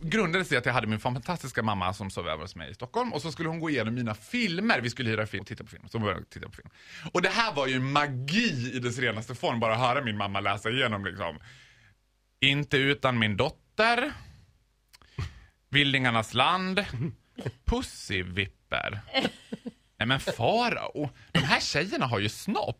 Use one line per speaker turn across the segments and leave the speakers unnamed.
grundades i att jag hade min fantastiska mamma som sov över hos mig i Stockholm och så skulle hon gå igenom mina filmer. Vi skulle hyra film och titta på film. Så började jag titta på film. Och det här var ju magi i dess renaste form, bara att höra min mamma läsa igenom liksom. Inte utan min dotter. Vildingarnas land. Pussyvipper. Nej men farao, de här tjejerna har ju snopp.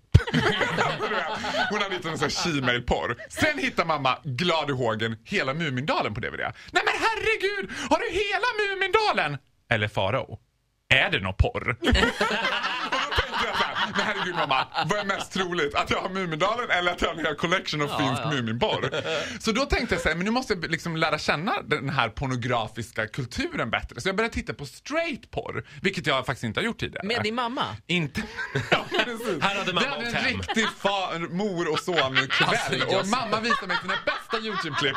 Hon hade hittat någon sån här Gmail-porr. Sen hittar mamma, glad i hågen, hela Mumindalen på DVD. Nej men herregud, har du hela Mumindalen? Eller farao, är det någon porr? Och då tänkte jag så här, Men herregud mamma, vad är mest troligt? Att jag har Mumindalen eller att jag har en hel collection av finsk Muminporr? Så då tänkte jag så här, men nu måste jag liksom lära känna den här pornografiska kulturen bättre. Så jag började titta på straight porr, vilket jag faktiskt inte har gjort tidigare.
Med din mamma?
Inte... Ja, precis.
Här hade mamma
Det hade
åkt
en
hem.
riktig fa- mor och son-kväll.
Alltså,
och mamma visade mig sina bästa YouTube-klipp.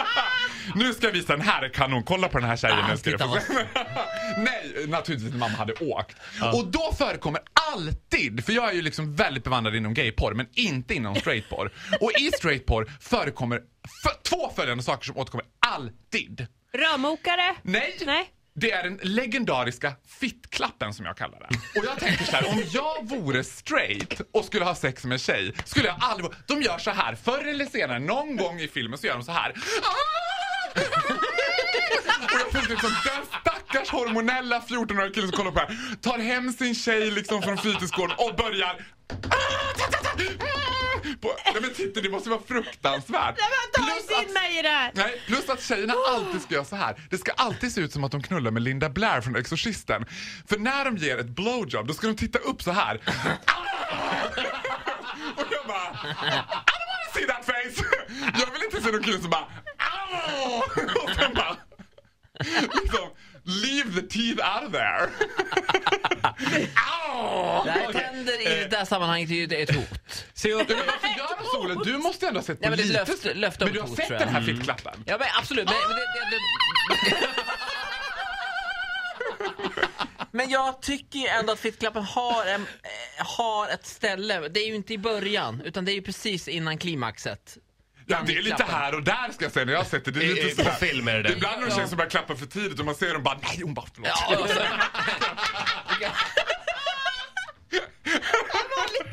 nu ska jag visa den här kanon. Kolla på den här tjejen.
Ah,
nu ska du
titta
få se. Nej, naturligtvis inte. Mamma hade åkt. Och då förekommer alltid, för jag är ju liksom väldigt bevandrad inom gayporr, men inte inom straightporr. och i straightporr förekommer f- två följande saker som återkommer alltid.
Rörmokare?
Nej.
Nej.
Det är den legendariska fittklappen som jag kallar den. Och jag tänker så här, om jag vore straight och skulle ha sex med en tjej, skulle jag aldrig... De gör så här, förr eller senare, någon gång i filmen så gör de så här. Och jag tänkte liksom, den stackars hormonella 14-åriga killen som kollar på det här tar hem sin tjej liksom från fritidsgården och börjar... Ah, På, nej men titta, det måste vara fruktansvärt.
Ta
Plus
inte
att-
in mig i det här!
Nej, plus att tjejerna alltid ska göra så här. Det ska alltid se ut som att de knullar med Linda Blair från Exorcisten. För när de ger ett blowjob, då ska de titta upp så här. Och jag bara... I don't wanna see that face! Jag vill inte se någon kille som bara... "Ow!" Och sen bara... Liksom, leave the teeth out of there. Ow!
Nej, tänder i det där sammanhanget är ju ett hot.
Se upp.
Men varför gör de så Ola? Du måste ju ändå ha sett på
Nej, men det är
lite...
ett löfte- löfte om
men du har
ett hot,
sett
tror jag.
den
Mm.
här fittklappen?
Ja, men absolut. Men, men, det, det, det... men jag tycker ju ändå att fittklappen har, en, eh, har ett ställe. Det är ju inte i början, utan det är ju precis innan klimaxet.
Ja, det är lite
Klappen.
här och där ska jag säga när jag har sett det. Det är
I- i-
lite
på
sådär-
film är det
Det
där.
är ibland när tjejer som börjar klappa för tidigt och man ser dem bara nej hon bara förlåt.
Ja, och så...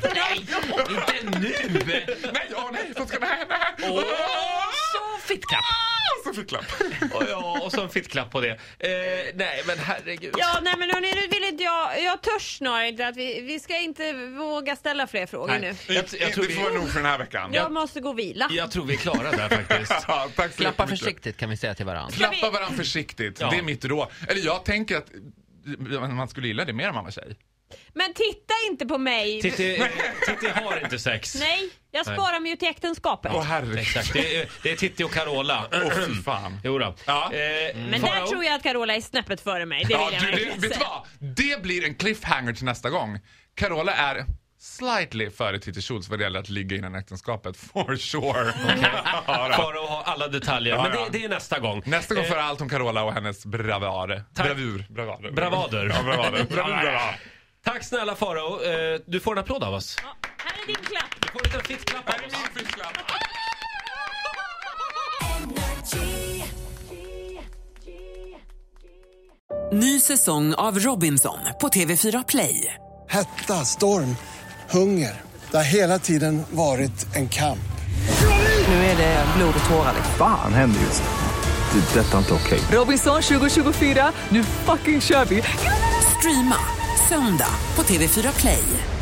Nej,
Inte nu!
Nej, ja, nej, vad ska det hända? Åh,
så fittklapp!
så fick klapp.
Och, ja, och så en fittklapp på det. Eh, nej, men herregud.
Ja, nej men hörni, nu vill inte jag, jag törs snarare inte att vi, vi ska inte våga ställa fler frågor nu.
Jag, jag, tror
det
vi,
får vara nog för den här veckan.
Jag måste gå och vila.
jag tror vi är klara där faktiskt.
Ja, tack så
Klappa
jättemycket.
försiktigt kan vi säga till varandra.
Klappa varandra försiktigt.
Ja.
Det är mitt råd. Eller jag tänker att man skulle gilla det mer om man var tjej.
Men titta inte på mig!
Titti, Titti har inte sex.
Nej, jag sparar mig ju till äktenskapet.
Åh herregud.
Exakt, det är, det är Titti och Carola.
Åh fy fan.
Jo då.
Ja.
Eh,
Men där
Farao?
tror jag att Carola är snäppet före mig. Det
Ja,
vill jag
du, det,
verkligen
vet du
säga.
vad? Det blir en cliffhanger till nästa gång. Carola är slightly före Titti Schultz vad det gäller att ligga innan äktenskapet. For sure. Ja, då.
Farao har alla detaljer, men det, det är nästa gång.
Nästa gång
Eh,
får jag allt om Carola och hennes bravar.
Tack.
Bravur. Bravader.
Bravader.
Ja, bravader. Bravur, bravar.
Tack snälla Farao. Eh, du får en applåd av oss.
Ja, här är din klapp.
Du får en liten fittklapp
Här
av
är
oss.
min fiskklapp.
Ny säsong av Robinson på TV4 Play.
Hetta, storm, hunger. Det har hela tiden varit en kamp.
Nu är det blod och tårar.
Fan händer just nu. Det. är Detta är inte okej.
Robinson 2024, nu fucking kör vi! Streama söndag på TV4 Play.